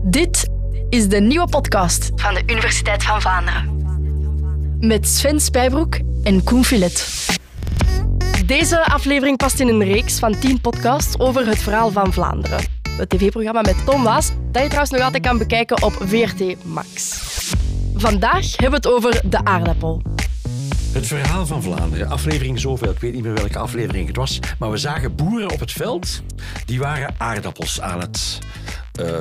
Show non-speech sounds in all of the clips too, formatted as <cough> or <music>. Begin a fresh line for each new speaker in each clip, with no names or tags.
Dit is de nieuwe podcast van de Universiteit van Vlaanderen. Met Sven Spijbroek en Koen Filet. Deze aflevering past in een reeks van 10 podcasts over het verhaal van Vlaanderen. Het tv-programma met Tom Waas, dat je trouwens nog altijd kan bekijken op VRT Max. Vandaag hebben we het over de aardappel.
Het verhaal van Vlaanderen, aflevering zoveel, ik weet niet meer welke aflevering het was, maar we zagen boeren op het veld, die waren aardappels aan het eh,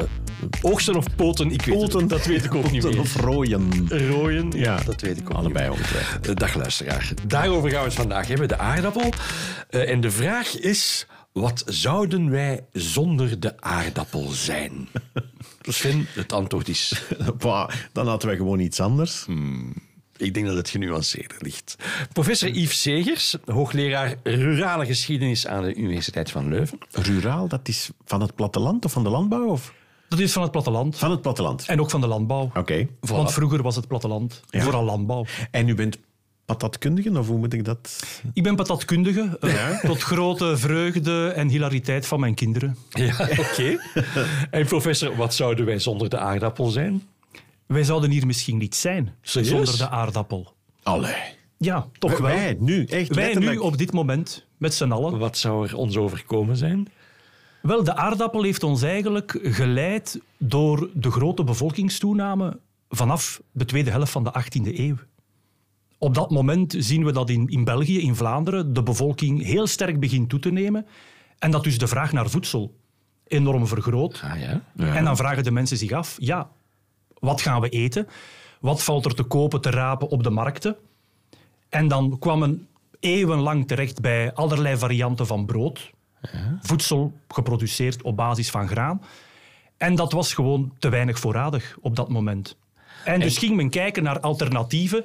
oogsten of poten, ik weet het
Poten, dat weet ik ook niet
Poten
meer.
of
rooien.
niet. Rooien, ja, dat weet ik ook
Allebei
niet.
ongetwijfeld.
Eh, Dag luisteraar, daarover gaan we het vandaag hebben, de aardappel. Eh, en de vraag is, wat zouden wij zonder de aardappel <laughs> zijn? Sven, het antwoord is,
<laughs> Bah, dan hadden wij gewoon iets anders.
ik denk dat het genuanceerder ligt. Professor Yves Segers, hoogleraar rurale geschiedenis aan de Universiteit van Leuven.
Ruraal, dat is van het platteland of van de landbouw? Of?
Dat is van het platteland.
Van het platteland.
En ook van de landbouw.
Oké.
Want vroeger was het platteland vooral landbouw.
En u bent patatkundige, of hoe moet ik dat...
Ik ben patatkundige, eh, <laughs> tot grote vreugde en hilariteit van mijn kinderen.
Ja, oké. En professor, wat zouden wij zonder de aardappel zijn?
Wij zouden hier misschien niet zijn
Serieus?
zonder de aardappel.
Allee.
Ja, toch wel.
Wij nu, echt
Wij nu
letterlijk.
op dit moment, met z'n allen.
Wat zou er ons overkomen zijn?
Wel, de aardappel heeft ons eigenlijk geleid door de grote bevolkingstoename vanaf de tweede helft van de 18e eeuw. Op dat moment zien we dat in, in België, in Vlaanderen, de bevolking heel sterk begint toe te nemen. En dat dus de vraag naar voedsel enorm vergroot.
Ah ja.
En dan vragen de mensen zich af, ja, wat gaan we eten? Wat valt er te kopen, te rapen op de markten? En dan kwam men eeuwenlang terecht bij allerlei varianten van brood. Voedsel geproduceerd op basis van graan. En dat was gewoon te weinig voorradig op dat moment. En dus ging men kijken naar alternatieven.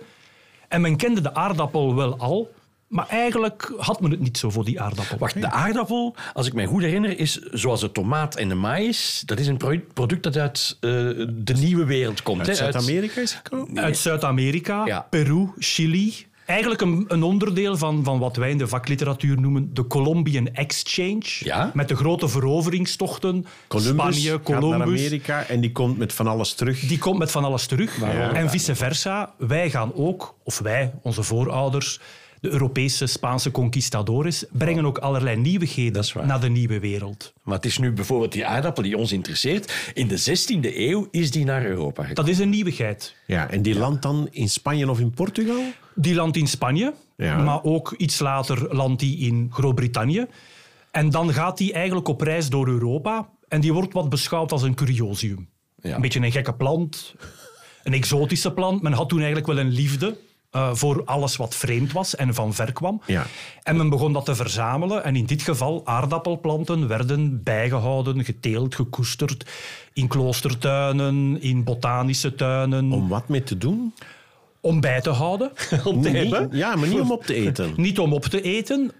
En men kende de aardappel wel al, maar eigenlijk had men het niet zo voor die aardappel.
Wacht, de aardappel, als ik mij goed herinner, is zoals de tomaat en de maïs. Dat is een pro- product dat uit eh, de nieuwe wereld komt.
Uit
hè?
Zuid-Amerika is gekomen?
Uit Zuid-Amerika,
Ja.
Peru, Chili. Eigenlijk een, een onderdeel van, van wat wij in de vakliteratuur noemen de Colombian Exchange.
Ja.
Met de grote veroveringstochten.
Columbus
Spanje,
gaat naar
Columbus.
Amerika en die komt met van alles terug.
Die komt met van alles terug. En vice versa. Wij gaan ook, of wij, onze voorouders, de Europese Spaanse conquistadores, brengen ook allerlei nieuwigheden
is waar.
naar de nieuwe wereld.
Maar het is nu bijvoorbeeld die aardappel die ons interesseert. In de 16e eeuw is die naar Europa gekomen.
Dat is een nieuwigheid.
Ja, en die landt dan in Spanje of in Portugal?
Die landt in Spanje,
Ja.
maar ook iets later landt die in Groot-Brittannië. En dan gaat die eigenlijk op reis door Europa en die wordt wat beschouwd als een curiosium.
Ja.
Een beetje een gekke plant, een exotische plant. Men had toen eigenlijk wel een liefde eh, voor alles wat vreemd was en van ver kwam.
Ja.
En men begon dat te verzamelen. En in dit geval, aardappelplanten werden bijgehouden, geteeld, gekoesterd. In kloostertuinen, in botanische tuinen. Om,
Om wat mee te doen?
bij te houden.
Nee, Ja, maar <laughs> niet om op te eten.
Niet om op te eten.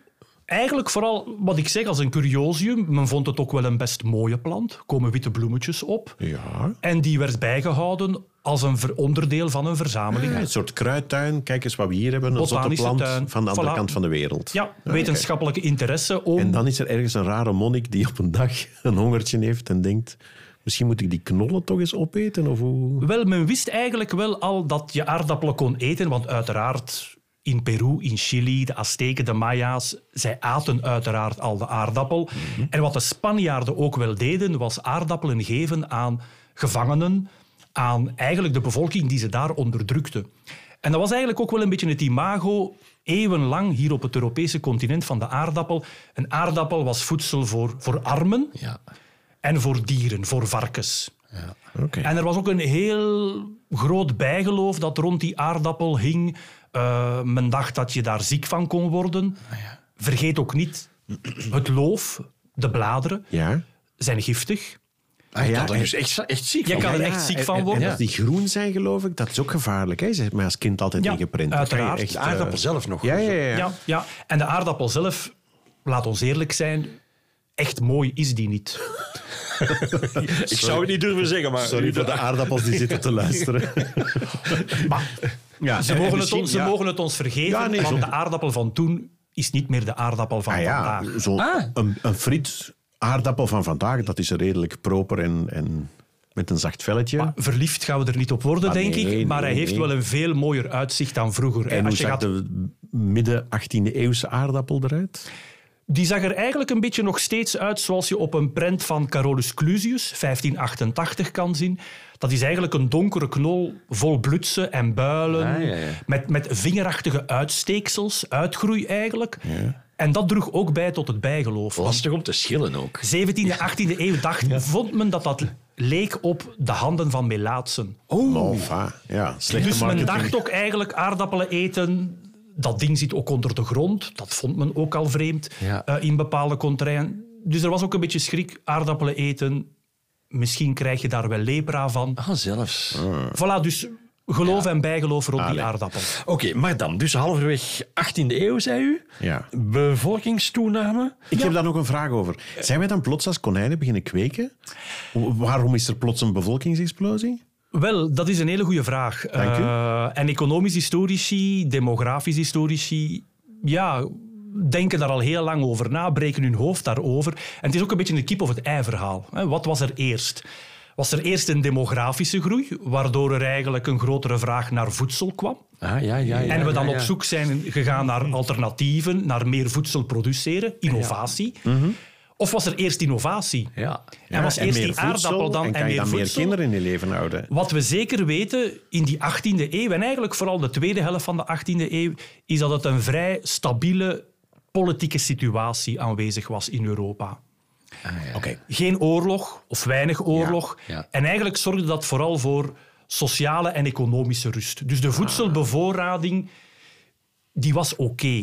Eigenlijk vooral, wat ik zeg, als een curiosium. Men vond het ook wel een best mooie plant. Er komen witte bloemetjes op.
Ja.
En die werd bijgehouden als een ver- onderdeel van een verzameling.
Ja, een soort kruidtuin. Kijk eens wat we hier hebben. Een zotte
Botanische
plant
tuin.
van de andere
Voilà.
kant van de wereld.
Ja, wetenschappelijke interesse om...
En dan is er ergens een rare monnik die op een dag <laughs> een hongertje heeft en denkt... Misschien moet ik die knollen toch eens opeten? Of hoe?
Wel, men wist eigenlijk wel al dat je aardappelen kon eten, want uiteraard in Peru, in Chili, de Azteken, de Maya's, zij aten uiteraard al de aardappel. En wat de Spanjaarden ook wel deden, was aardappelen geven aan gevangenen, aan eigenlijk de bevolking die ze daar onderdrukte. En dat was eigenlijk ook wel een beetje het imago eeuwenlang hier op het Europese continent van de aardappel. Een aardappel was voedsel voor, voor armen
Ja.
en voor dieren, voor varkens.
Oké.
En er was ook een heel groot bijgeloof dat rond die aardappel hing. Eh, men dacht dat je daar ziek van kon worden.
Ah,
Vergeet ook niet, het loof, de bladeren,
Ja.
zijn giftig.
Ah,
ja,
ja, dat
en-
is echt, echt ziek.
Je
van
kan er
worden.
echt ziek
en-
van
en-
worden.
En als die groen zijn, geloof ik, dat is ook gevaarlijk. Hè? Ze heeft mij als kind altijd
Ja,
ingeprint. Dat kan je
uiteraard.
echt,
De
eh,
aardappel zelf nog.
Ja, ja, ja.
Ja.
ja.
Ja, En de aardappel zelf, laat ons eerlijk zijn, echt mooi is die niet.
Ik zou het niet durven zeggen, maar...
Sorry voor de aardappels die zitten <laughs> te luisteren.
Maar
ja,
ze,
en- en
mogen het,
Eh, misschien-
ons- ze
ja.
mogen het ons vergeven,
Ja, nee,
want
zo-
de aardappel van toen is niet meer de aardappel van
Ah ja,
vandaag.
zo een, een friet aardappel van vandaag, dat is redelijk proper en, en met een zacht velletje.
Maar verliefd gaan we er niet op worden,
Ah,
denk
nee, nee,
ik. Maar hij
nee,
heeft
nee.
wel een veel mooier uitzicht dan vroeger.
en hoe
eh, Als je
zag
gaat,
de midden 18e eeuwse aardappel eruit?
Die zag er eigenlijk een beetje nog steeds uit zoals je op een prent van Carolus Clusius, 1588, kan zien. Dat is eigenlijk een donkere knol vol blutsen en builen,
Ah, ja, ja.
Met, met vingerachtige uitsteeksels, uitgroei eigenlijk. En dat droeg ook bij tot het bijgeloof. Want
Lastig om te schillen ook.
17e, 18e eeuw dacht, vond men dat dat leek op de handen van Melaatsen.
Malva. Nou, Ja, slechte
Dus men
marketing.
dacht ook eigenlijk aardappelen eten. Dat ding zit ook onder de grond. Dat vond men ook al vreemd
Ja.
eh, in bepaalde contraien. Dus er was ook een beetje schrik. Aardappelen eten, misschien krijg je daar wel lepra van.
Ah, zelfs.
Voilà, dus geloof en bijgeloof rond die
nee.
aardappel.
Oké, maar dan, dus halverwege 18e eeuw, zei u.
Ja.
Bevolkingstoename.
Ik heb daar nog een vraag over. Zijn wij dan plots als konijnen beginnen kweken? Wa- Waarom is er plots een bevolkingsexplosie?
Wel, dat is een hele goede vraag.
Dank u.
Eh, en economisch historici, demografisch historici, ja, denken daar al heel lang over na, breken hun hoofd daarover. En het is ook een beetje een kip of het ei verhaal. hè. Wat was er eerst? Was er eerst een demografische groei, waardoor er eigenlijk een grotere vraag naar voedsel kwam?
Ah, ja, ja, ja,
en we dan
ja,
op
ja.
zoek zijn gegaan naar alternatieven, naar meer voedsel produceren, innovatie. Of was er eerst innovatie?
Ja.
En was
Mhm. Ja,
eerst
meer
die aardappel
voedsel,
dan en,
en kan je
meer
dan meer
voedsel?
kinderen in je leven houden?
Wat we zeker weten in die 18e eeuw, en eigenlijk vooral de tweede helft van de 18e eeuw, is dat het een vrij stabiele politieke situatie aanwezig was in Europa.
Ah, ja.
Geen oorlog of weinig oorlog.
Ja, ja.
En eigenlijk zorgde dat vooral voor sociale en economische rust.
Ah.
Dus de voedselbevoorrading die was oké.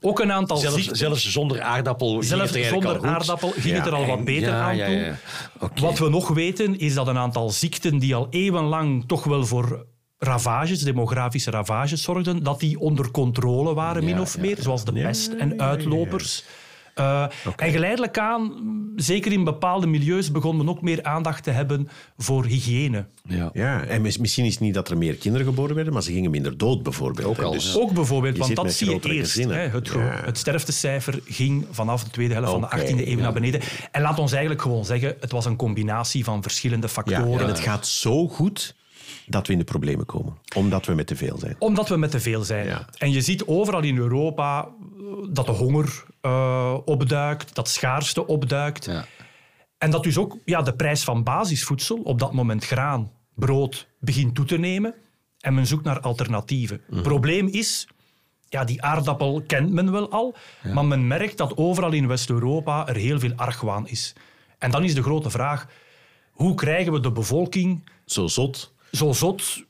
Ook een aantal
Mhm. Zelfs,
ziekten,
zelfs zonder aardapel. ging
zelfs
het er eigenlijk
zonder
al goed.
aardappel ging het er al wat beter
ja,
aan
ja,
toe.
ja. Oké.
Wat we nog weten is dat een aantal ziekten die al eeuwenlang toch wel voor ravages, demografische ravages zorgden, dat die onder controle waren, min
Ja,
of
ja,
meer, zoals de pest en uitlopers. Uh, En geleidelijk aan, zeker in bepaalde milieus, begon men ook meer aandacht te hebben voor hygiëne.
Ja.
Ja, en mis- misschien is het niet dat er meer kinderen geboren werden, maar ze gingen minder dood bijvoorbeeld.
Ook
hè.
al,
Dus-
ja.
Ook bijvoorbeeld,
Je
want
zit
dat
met
zie je
grotere
eerst.
gezinnen.
Hè, het, ge-
Ja.
het sterftecijfer ging vanaf de tweede helft
Oké,
van de 18e eeuw naar beneden. En laat ons eigenlijk gewoon zeggen, het was een combinatie van verschillende
Ja,
factoren.
en het gaat zo goed dat we in de problemen komen. Omdat we met te veel zijn.
Omdat we met te veel zijn.
Ja.
En je ziet overal in Europa eh, dat de honger eh, opduikt, dat schaarste opduikt.
Ja.
En dat dus ook ja, de prijs van basisvoedsel, op dat moment graan, brood, begint toe te nemen. En men zoekt naar alternatieven. Probleem is, ja, die aardappel kent men wel al, maar men merkt dat overal in West-Europa er heel veel argwaan is. En dan is de grote vraag, hoe krijgen we de bevolking
Zo zot.
zo zot,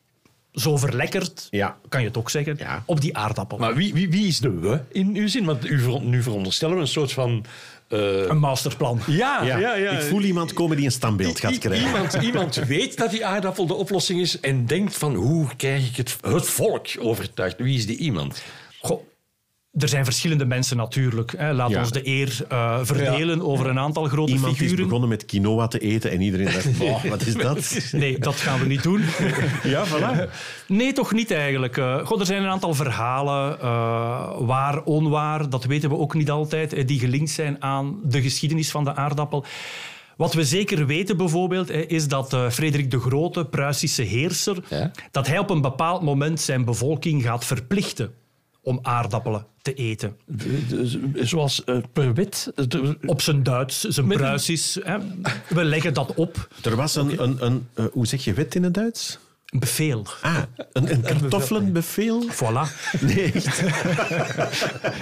zo verlekkerd,
Ja.
kan je het ook zeggen,
Ja.
op die aardappel.
Maar wie, wie, wie is de we in uw zin? Want u ver- nu veronderstellen we een soort van... eh,
een masterplan.
ja, ja, ja,
Ik voel iemand komen die een standbeeld gaat
I-
krijgen.
Iemand, iemand weet dat die aardappel de oplossing is en denkt van hoe krijg ik het, het volk overtuigd? Wie is die iemand?
Goh, er zijn verschillende mensen natuurlijk. Hè. Laat
Ja.
ons de eer eh, verdelen over een aantal grote
Iemand is
figuren.
begonnen met quinoa te eten en iedereen <laughs> dacht, "Wow, wat is dat?
Nee, dat gaan we niet doen.
Ja, voilà.
Nee, toch niet eigenlijk. Eh, goh, er zijn een aantal verhalen, eh, waar, onwaar, dat weten we ook niet altijd, eh, die gelinkt zijn aan de geschiedenis van de aardappel. Wat we zeker weten bijvoorbeeld, eh, is dat eh, Frederik de Grote, Pruisische heerser,
Ja.
dat hij op een bepaald moment zijn bevolking gaat verplichten om aardappelen te eten.
Zoals eh, per wit.
Op zijn Duits, zijn Pruisisch. Hè. We leggen dat op.
Er was een, een, een eh, hoe zeg je wet in het Duits?
Een bevel.
Ah, een, <laughs> een kartoffelbevel?
Voilà,
<laughs> Nee, echt?
<laughs>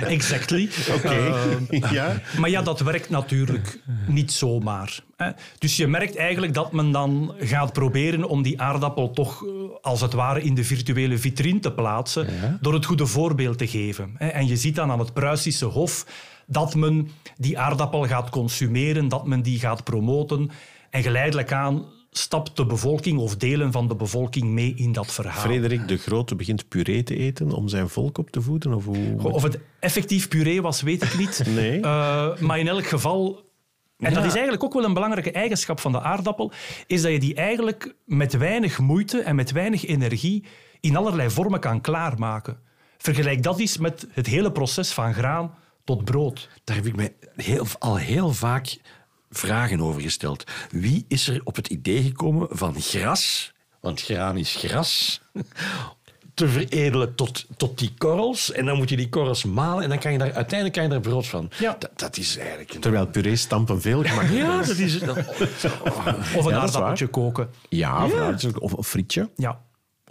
exactly. Ehm,
<laughs> ja.
Maar ja, dat werkt natuurlijk niet zomaar. Hè. Dus je merkt eigenlijk dat men dan gaat proberen om die aardappel toch eh, als het ware in de virtuele vitrine te plaatsen door het goede voorbeeld te geven. hè. En je ziet dan aan het Pruisische Hof dat men die aardappel gaat consumeren, dat men die gaat promoten. En geleidelijk aan stapt de bevolking of delen van de bevolking mee in dat verhaal.
Frederik de Grote begint puree te eten om zijn volk op te voeden? Of hoe?
Of het effectief puree was, weet ik niet.
<laughs> Nee.
Eh, maar in elk geval... En dat is eigenlijk ook wel een belangrijke eigenschap van de aardappel, is dat je die eigenlijk met weinig moeite en met weinig energie in allerlei vormen kan klaarmaken. Vergelijk dat eens met het hele proces van graan tot brood.
Daar heb ik mij heel, al heel vaak vragen over gesteld. Wie is er op het idee gekomen van gras, want graan is gras, te veredelen tot, tot die korrels? En dan moet je die korrels malen en dan kan je daar, uiteindelijk kan je daar brood van.
Ja.
Dat, dat is eigenlijk... Een...
Terwijl puree stampen veel gemakkelijker
Ja,
is.
dat is... <laughs> Dat, Oh,
Of een
Ja, dat is
aardappeltje koken.
<laughs> Ja, vooruit. of, of frietje.
Ja,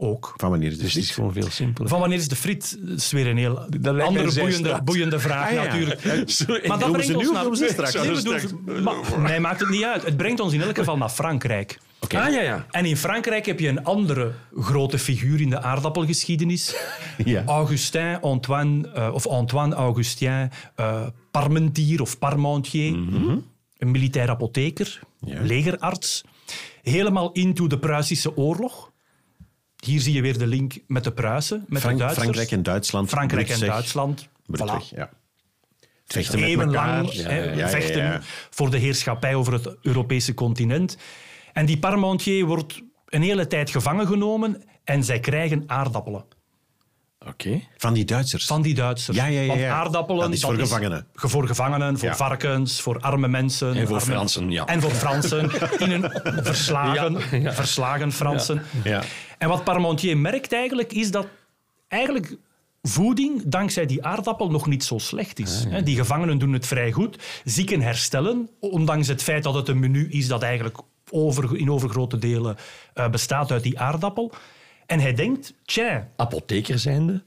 ook.
Van wanneer is de friet?
gewoon veel simpeler.
Van wanneer is de friet? Dat is weer een heel
me een
andere boeiende,
zijstraat.
boeiende vraag
Ah, ja.
natuurlijk.
<laughs> Sorry,
Maar dat
Doen we
brengt
ze nu
ons
of
naar...
doen we ze
Nee,
straks?
nee, we
Ja,
doen
straks.
ze- Maar,
eh,
nee, maakt het niet uit. Het brengt ons in elk geval naar Frankrijk.
Ah, ja, ja.
En in Frankrijk heb je een andere grote figuur in de aardappelgeschiedenis.
<laughs> Ja.
Augustin Antoine, eh, of Antoine Augustin eh, Parmentier of Parmentier.
Mhm.
Een militair apotheker, legerarts. Helemaal into de Pruisische oorlog. Hier zie je weer de link met de Pruisen, met
Frank-
de Duitsers.
Frankrijk en Duitsland.
Frankrijk en
Brutsweg.
Duitsland.
Brutsweg,
Voilà.
ja. Het vechten met
Eeuwenlang
elkaar.
hè,
Ja, ja, ja,
vechten
ja.
voor de heerschappij over het Europese continent. En die Parmentier wordt een hele tijd gevangen genomen en zij krijgen aardappelen
Oké.
Van die Duitsers.
van die Duitsers.
Ja, ja, ja,
Want
ja.
aardappelen...
Dat is voor gevangenen.
ge- voor gevangenen, voor
Ja.
varkens, voor arme mensen.
voor
arme-
Fransen, ja.
En voor
<laughs>
Fransen. In een verslagen, verslagen Fransen.
Ja.
En wat Parmentier merkt eigenlijk, is dat eigenlijk voeding dankzij die aardappel nog niet zo slecht is. Hè, Die gevangenen doen het vrij goed. Zieken herstellen, ondanks het feit dat het een menu is dat eigenlijk over, in overgrote delen eh, bestaat uit die aardappel. En hij denkt, tja,
Apotheker zijnde.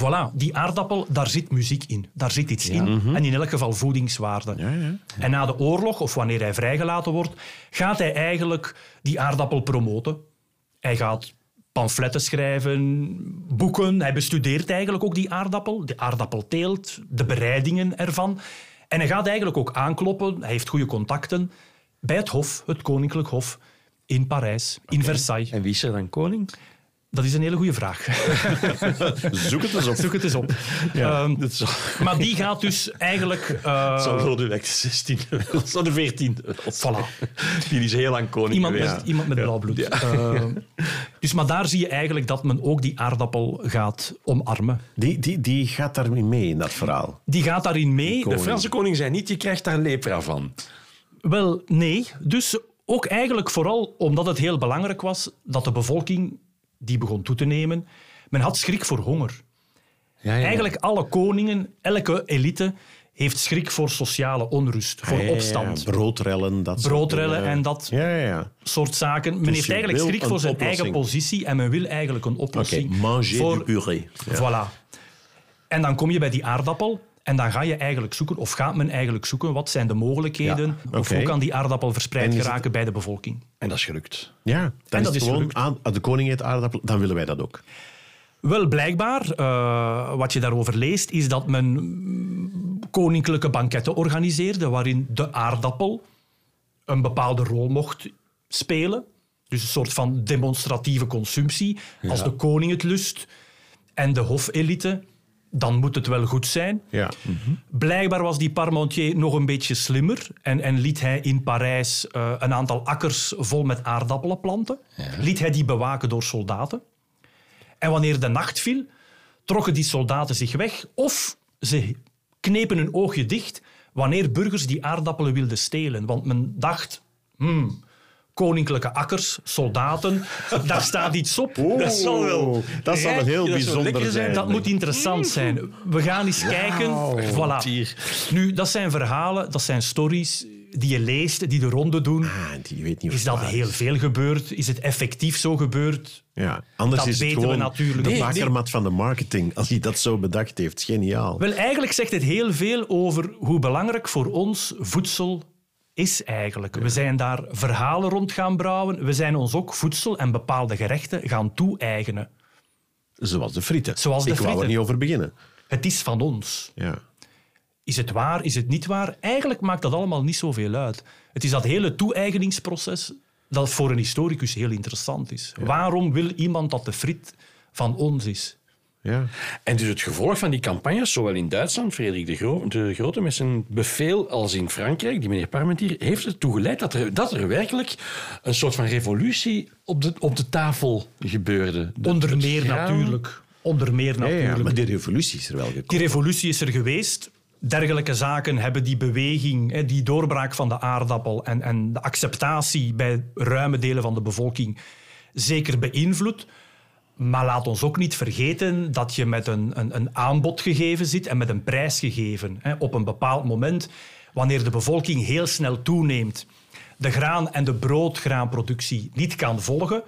Voilà, die aardappel, daar zit muziek in. Daar zit iets in. En in elk geval voedingswaarde. En na de oorlog, of wanneer hij vrijgelaten wordt, gaat hij eigenlijk die aardappel promoten. Hij gaat pamfletten schrijven, boeken. Hij bestudeert eigenlijk ook die aardappel, de aardappelteelt, de bereidingen ervan. En hij gaat eigenlijk ook aankloppen, hij heeft goede contacten, bij het Hof, het Koninklijk Hof in Parijs, in Versailles.
En wie is er dan koning?
Dat is een hele goede vraag.
Zoek het eens
<laughs>
op.
<laughs> Zoek het eens op. Ehm, maar die gaat dus
<laughs>
eigenlijk... eh,
Lodewijk de <laughs> 16e wel. Zo de 14e
voilà.
Die is heel lang koning
Iemand met,
geweest.
iemand met blauw bloed. Eh, dus, maar daar zie je eigenlijk dat men ook die aardappel gaat omarmen.
Die, die, die gaat daarmee mee in dat verhaal.
Die gaat daarin mee.
De Franse koning zei niet, je krijgt daar lepra van.
Wel, nee. Dus ook eigenlijk vooral omdat het heel belangrijk was dat de bevolking die begon toe te nemen. Men had schrik voor honger. Eigenlijk alle koningen, elke elite heeft schrik voor sociale onrust, voor
Ah, Ja, ja, ja.
opstand.
Broodrellen, dat soort
Broodrellen
dingen.
en dat-
Ja, ja, ja.
soort zaken. Men
Dus
heeft
je
eigenlijk
wil
schrik
een
voor zijn
oplossing.
eigen positie en men wil eigenlijk een
Oké,
oplossing.
manger
voor...
du puree. Ja.
Voilà. En dan kom je bij die aardappel en dan ga je eigenlijk zoeken, of gaat men eigenlijk zoeken, wat zijn de mogelijkheden,
Ja,
of
oké.
hoe kan die aardappel verspreid
En is het-
geraken bij de bevolking.
En dat is gelukt.
Ja, dan is
dat
het
is
gewoon
gelukt.
aan, de koning eet aardappel, dan willen wij dat ook.
Wel, blijkbaar, eh, wat je daarover leest, is dat men mm, koninklijke banketten organiseerde waarin de aardappel een bepaalde rol mocht spelen. Dus een soort van demonstratieve consumptie. Als de koning het lust en de hofelite, dan moet het wel goed zijn.
Ja.
Blijkbaar was die Parmentier nog een beetje slimmer en, en liet hij in Parijs eh, een aantal akkers vol met aardappelen planten. Liet hij die bewaken door soldaten. En wanneer de nacht viel, trokken die soldaten zich weg of ze knepen hun oogje dicht wanneer burgers die aardappelen wilden stelen. Want men dacht, hmm, koninklijke akkers, soldaten, daar staat iets op.
dat zal wel, dat zal wel heel
dat zou
bijzonder
lekker
zijn.
zijn.
Dat moet interessant zijn. We gaan eens kijken. Voilà.
Tier.
Nu, dat zijn verhalen, dat zijn stories die je leest, die de ronde doen.
Ah, die weet niet of het
Is dat
waar
heel veel gebeurd? Is het effectief zo gebeurd?
Ja, anders
Dat
is het
weten we
gewoon
natuurlijk
de
niet.
bakermat van de marketing, als hij dat zo bedacht heeft. Geniaal.
Wel, eigenlijk zegt het heel veel over hoe belangrijk voor ons voedsel is eigenlijk. We zijn daar verhalen rond gaan brouwen. We zijn ons ook voedsel en bepaalde gerechten gaan toe-eigenen.
Zoals de frieten.
Zoals de
Ik wou er
frieten.
niet over beginnen.
Het is van ons.
Ja.
Is het waar, is het niet waar? Eigenlijk maakt dat allemaal niet zoveel uit. Het is dat hele toe-eigeningsproces dat voor een historicus heel interessant is. Waarom wil iemand dat de friet van ons is?
Ja.
En dus het gevolg van die campagnes, zowel in Duitsland, Frederik de, Gro- de Grote met zijn bevel, als in Frankrijk, die meneer Parmentier, heeft ertoe geleid dat er, dat er werkelijk een soort van revolutie op de, op de tafel gebeurde. De-
Onder
het
meer
graan-
natuurlijk. Onder meer
Ja, ja,
natuurlijk.
maar die revolutie is er wel gekomen.
Die revolutie is er geweest. dergelijke zaken hebben die beweging, hè, die doorbraak van de aardappel en, en de acceptatie bij ruime delen van de bevolking zeker beïnvloed. Maar laat ons ook niet vergeten dat je met een, een, een aanbodgegeven zit en met een prijsgegeven. Hè, op een bepaald moment, wanneer de bevolking heel snel toeneemt, de graan- en de broodgraanproductie niet kan volgen,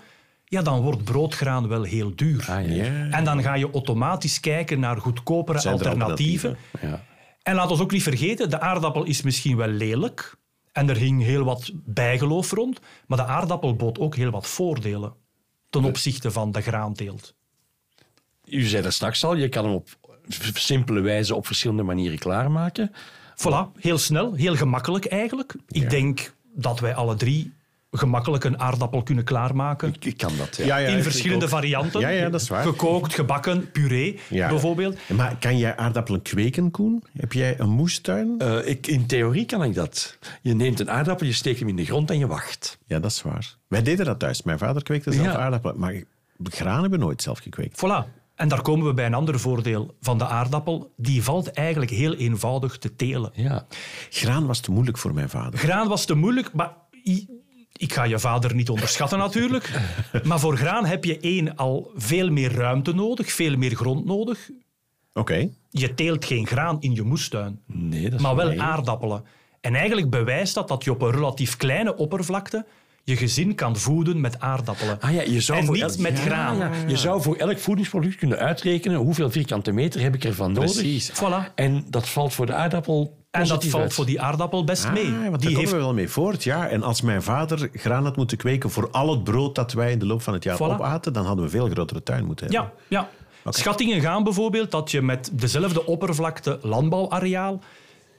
ja, dan wordt broodgraan wel heel duur.
Ah, ja.
En dan ga je automatisch kijken naar goedkopere
Zijn er
alternatieven.
Ja.
En laat ons ook niet vergeten, de aardappel is misschien wel lelijk. En er hing heel wat bijgeloof rond. Maar de aardappel bood ook heel wat voordelen ten opzichte van de graanteelt.
U zei dat straks al, je kan hem op simpele wijze op verschillende manieren klaarmaken.
Voilà, heel snel, heel gemakkelijk eigenlijk. Ik denk dat wij alle drie gemakkelijk een aardappel kunnen klaarmaken.
Ik kan dat, ja.
ja,
in verschillende varianten.
Ja, ja, dat is waar.
Gekookt, gebakken, puree
Ja.
bijvoorbeeld.
Maar kan jij aardappelen kweken, Koen? Heb jij een moestuin?
Eh, ik, in theorie kan ik dat. Je neemt een aardappel, je steekt hem in de grond en je wacht.
Ja, dat is waar. Wij deden dat thuis. Mijn vader kweekte zelf
Ja.
aardappelen. Maar graan hebben we nooit zelf gekweekt.
Voilà. En daar komen we bij een ander voordeel van de aardappel. Die valt eigenlijk heel eenvoudig te telen.
Ja.
Graan was te moeilijk voor mijn vader.
Graan was te moeilijk, maar i- ik ga je vader niet onderschatten
<laughs>
natuurlijk. Maar voor graan heb je één al veel meer ruimte nodig, veel meer grond nodig.
Oké.
Je teelt geen graan in je moestuin,
Nee, dat is
maar wel
nee.
aardappelen. En eigenlijk bewijst dat dat je op een relatief kleine oppervlakte je gezin kan voeden met aardappelen.
Ah ja, je zou
en
voor
niet
elk-
met
Ja,
graan.
ja. Je zou voor elk voedingsproduct kunnen uitrekenen hoeveel vierkante meter heb ik ervan nodig.
Precies.
Voilà.
En dat valt voor de aardappel
En dat
positief
valt
uit.
voor die aardappel best mee.
Ah, want daar
die
komen
heeft
we wel mee voort, ja. En als mijn vader graan had moeten kweken voor al het brood dat wij in de loop van het jaar
Voilà.
opaten, dan hadden we een veel grotere tuin moeten hebben.
Ja, ja. Schattingen gaan bijvoorbeeld dat je met dezelfde oppervlakte landbouwareaal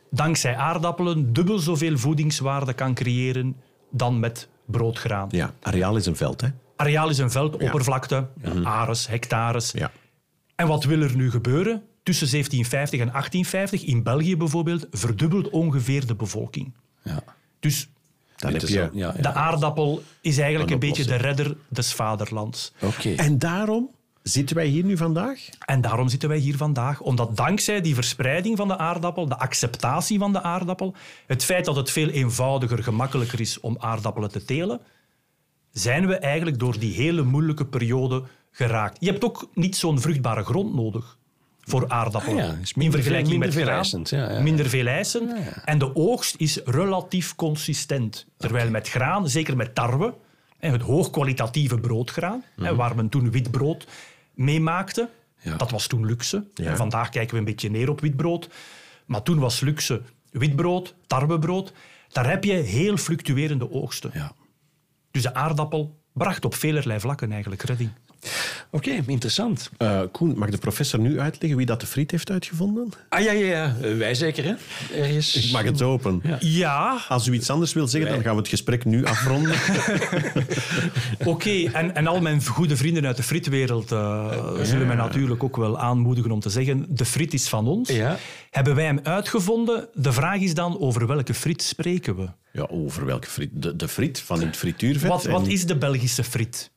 dankzij aardappelen dubbel zoveel voedingswaarde kan creëren dan met broodgraan.
Ja, areaal is een veld, hè.
Areaal is een veld, oppervlakte, ares, hectares.
Ja.
En wat wil er nu gebeuren? Tussen 1750 en 1850, in België bijvoorbeeld, verdubbelt ongeveer de bevolking.
Ja.
Dus
Dan
Het
heb
is
je...
al- ja, ja.
de aardappel is eigenlijk
Een
een beetje de
oplossing.
redder des vaderlands.
Oké.
En daarom zitten wij hier nu vandaag.
En daarom zitten wij hier vandaag, omdat dankzij die verspreiding van de aardappel, de acceptatie van de aardappel, het feit dat het veel eenvoudiger, gemakkelijker is om aardappelen te telen, zijn we eigenlijk door die hele moeilijke periode geraakt. Je hebt ook niet zo'n vruchtbare grond nodig voor aardappelen.
Ah ja, is minder
In vergelijking
veel- minder
met
veel
graan,
eisend, ja, ja.
Minder veel eisend. En de oogst is relatief consistent. Terwijl met graan, zeker met tarwe, hè, het hoogkwalitatieve broodgraan, hè, waar men toen wit brood mee maakte,
Mhm. Ja.
dat was toen luxe.
Ja.
En Vandaag kijken we een beetje neer op wit brood. Maar toen was luxe witbrood, tarwebrood. Daar heb je heel fluctuerende oogsten.
Ja.
Dus de aardappel bracht op velerlei vlakken eigenlijk redding.
Oké, interessant.
Eh, Koen, mag de professor nu uitleggen wie dat de friet heeft uitgevonden?
Ah ja, ja, ja. Eh, wij zeker, hè? Er is...
Ik mag het open.
Ja,
Als u iets anders wil zeggen, dan gaan we het gesprek nu afronden.
oké. En, en al mijn goede vrienden uit de frietwereld eh, zullen mij natuurlijk ook wel aanmoedigen om te zeggen: de friet is van ons.
Ja.
Hebben wij hem uitgevonden? De vraag is dan: over welke friet spreken we?
<laughs> ja, over welke friet? De, de friet van het frituurvet.
Wat, wat
En-
is de Belgische friet?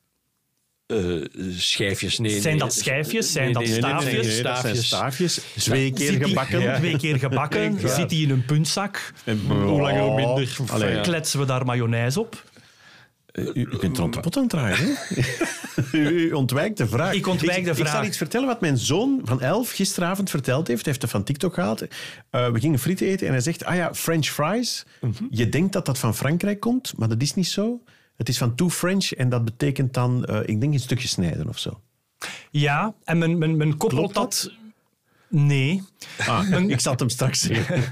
Eh, schijfjes, nee.
Zijn
nee.
dat schijfjes? Zijn dat
Nee, nee, nee, nee,
staafjes?
nee, dat zijn
Staafjes.
staafjes. Twee keer
Zit die-
gebakken.
<laughs> Twee keer gebakken. Zit hij in een puntzak?
Hoe langer, hoe minder.
Kletsen we daar mayonaise op?
U, u kunt er rond de pot aan draaien. hè? <laughs> u, u ontwijkt de vraag.
Ik ontwijk de
Ik
vraag.
zal iets vertellen wat mijn zoon van elf gisteravond verteld heeft. Hij heeft het van TikTok gehaald. Eh, we gingen frieten eten en hij zegt, ah ja, French fries. Je denkt dat dat van Frankrijk komt, maar dat is niet zo. Het is van Too French en dat betekent dan, eh, ik denk, een stukje snijden of zo.
Ja, en men, men, men koppelt
Klopt
dat...
dat?
Nee,
Ah, <laughs> ik zal het hem straks zeggen.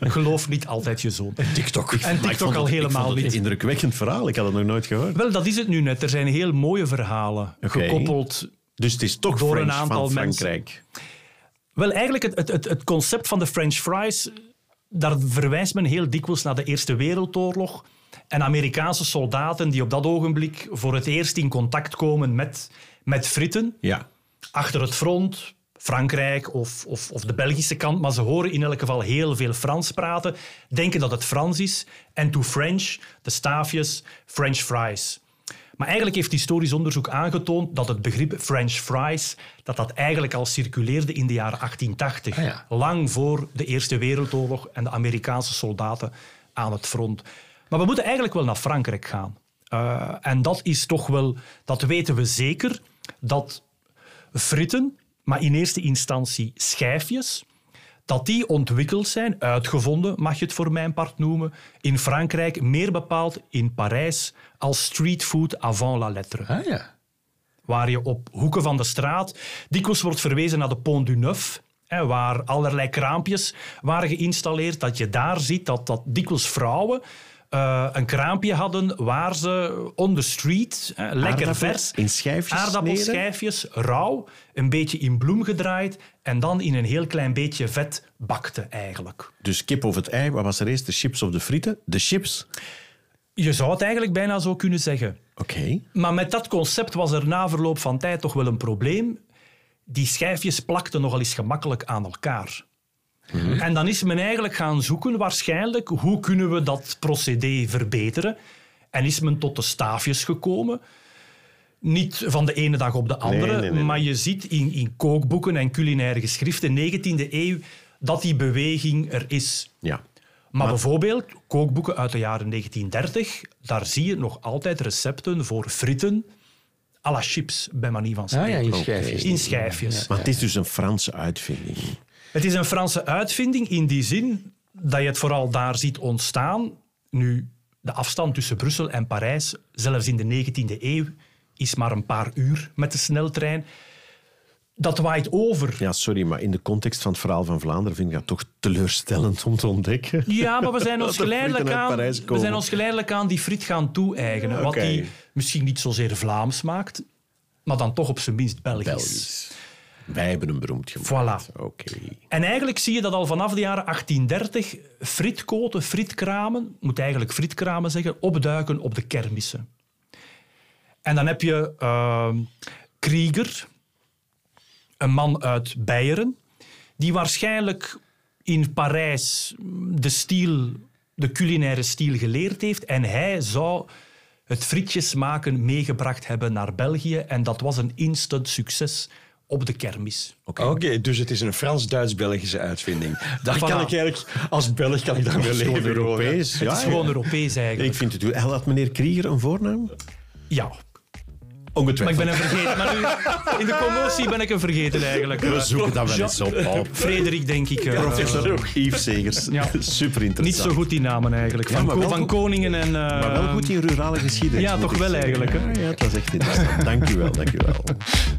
geloof niet altijd je zoon.
TikTok.
En TikTok al helemaal
Een
niet.
indrukwekkend verhaal, ik had het nog nooit gehoord.
Wel, dat is het nu net. Er zijn heel mooie verhalen
Oké.
gekoppeld.
Dus het is toch
Door een
French
aantal
van
mensen.
Frankrijk.
Wel, eigenlijk het, het, het, het concept van de French fries, daar verwijst men heel dikwijls naar de Eerste Wereldoorlog. En Amerikaanse soldaten die op dat ogenblik voor het eerst in contact komen met, met fritten.
Ja.
achter het front, Frankrijk of, of, of de Belgische kant, maar ze horen in elk geval heel veel Frans praten, denken dat het Frans is en to French, de staafjes, French fries. Maar eigenlijk heeft historisch onderzoek aangetoond dat het begrip French fries dat dat eigenlijk al circuleerde in de jaren 1880.
Ah, ja.
Lang voor de Eerste Wereldoorlog en de Amerikaanse soldaten aan het front. Maar we moeten eigenlijk wel naar Frankrijk gaan. Eh, en dat is toch wel, dat weten we zeker, dat fritten, maar in eerste instantie schijfjes, dat die ontwikkeld zijn, uitgevonden, mag je het voor mijn part noemen, in Frankrijk, meer bepaald in Parijs, als street food avant la lettre.
Ah ja.
Waar je op hoeken van de straat dikwijls wordt verwezen naar de Pont du Neuf, hè, waar allerlei kraampjes waren geïnstalleerd, dat je daar ziet dat, dat dikwijls vrouwen eh, een kraampje hadden waar ze on the street, hè, lekker
Aardappelen
vers,
in schijfjes sneden?
aardappelschijfjes, rauw, een beetje in bloem gedraaid en dan in een heel klein beetje vet bakte eigenlijk.
Dus kip of het ei, wat was er eerst? De chips of de frieten? De chips.
Je zou het eigenlijk bijna zo kunnen zeggen.
Oké.
Maar met dat concept was er na verloop van tijd toch wel een probleem. Die schijfjes plakten nogal eens gemakkelijk aan elkaar.
Mhm.
En dan is men eigenlijk gaan zoeken waarschijnlijk hoe kunnen we dat procedé verbeteren. En is men tot de staafjes gekomen. Niet van de ene dag op de andere,
nee, nee, nee.
maar je ziet in, in kookboeken en culinaire geschriften 19e eeuw dat die beweging er is.
Ja.
Maar, bijvoorbeeld kookboeken uit de jaren 1930, daar zie je nog altijd recepten voor fritten à la chips, bij manier van
Ah
spreken.
ja, in schijfjes.
In schijfjes.
Maar het is dus een Franse uitvinding.
Het is een Franse uitvinding in die zin dat je het vooral daar ziet ontstaan. Nu, de afstand tussen Brussel en Parijs, zelfs in de 19e eeuw, is maar een paar uur met de sneltrein. Dat waait over.
Ja, sorry, maar in de context van het verhaal van Vlaanderen vind ik dat toch teleurstellend om te ontdekken.
Ja, maar we
<laughs>
zijn
Dat
ons,
de
geleidelijk
frieten uit
aan,
Parijs
we
komen.
zijn ons geleidelijk aan die friet gaan toe-eigenen. Wat
Oké.
die misschien niet zozeer Vlaams maakt, maar dan toch op zijn minst Belgisch.
Belgisch. Wij hebben hem beroemd gemaakt.
Voilà.
Oké.
En eigenlijk zie je dat al vanaf de jaren 1830 frietkoten, frietkramen, moet eigenlijk frietkramen zeggen, opduiken op de kermissen. En dan heb je ehm Krieger, een man uit Beieren, die waarschijnlijk in Parijs de, stiel, de culinaire stiel geleerd heeft. En hij zou het frietjes maken meegebracht hebben naar België. En dat was een instant succes op de kermis.
Oké, dus het is een Frans-Duits-Belgische uitvinding. Daar kan
Voilà.
ik eigenlijk, als Belg kan ik daar mee
Gewoon
leven.
Europees.
hoor.
Ja,
het is
ja.
gewoon Europees eigenlijk.
Ik vind het... Hij had meneer Krieger een voornaam?
Ja, maar ik
Ongetwijfeld.
ben hem vergeten. Maar nu, in de commotie ben ik hem vergeten eigenlijk.
We zoeken dat wel
Ja.
eens op. <laughs> Paul.
Frederik, denk ik. eh,
Professor Yves Segers.
Ja.
Super interessant.
niet zo goed die namen eigenlijk. Van,
maar wel
Ko- van
goed.
Koningen en... eh,
Maar wel goed in rurale geschiedenis.
Ja,
moet
toch
ik
wel
zeggen.
eigenlijk, hè?
Ja, ja, dat is echt interessant. Dank u wel, dank u wel.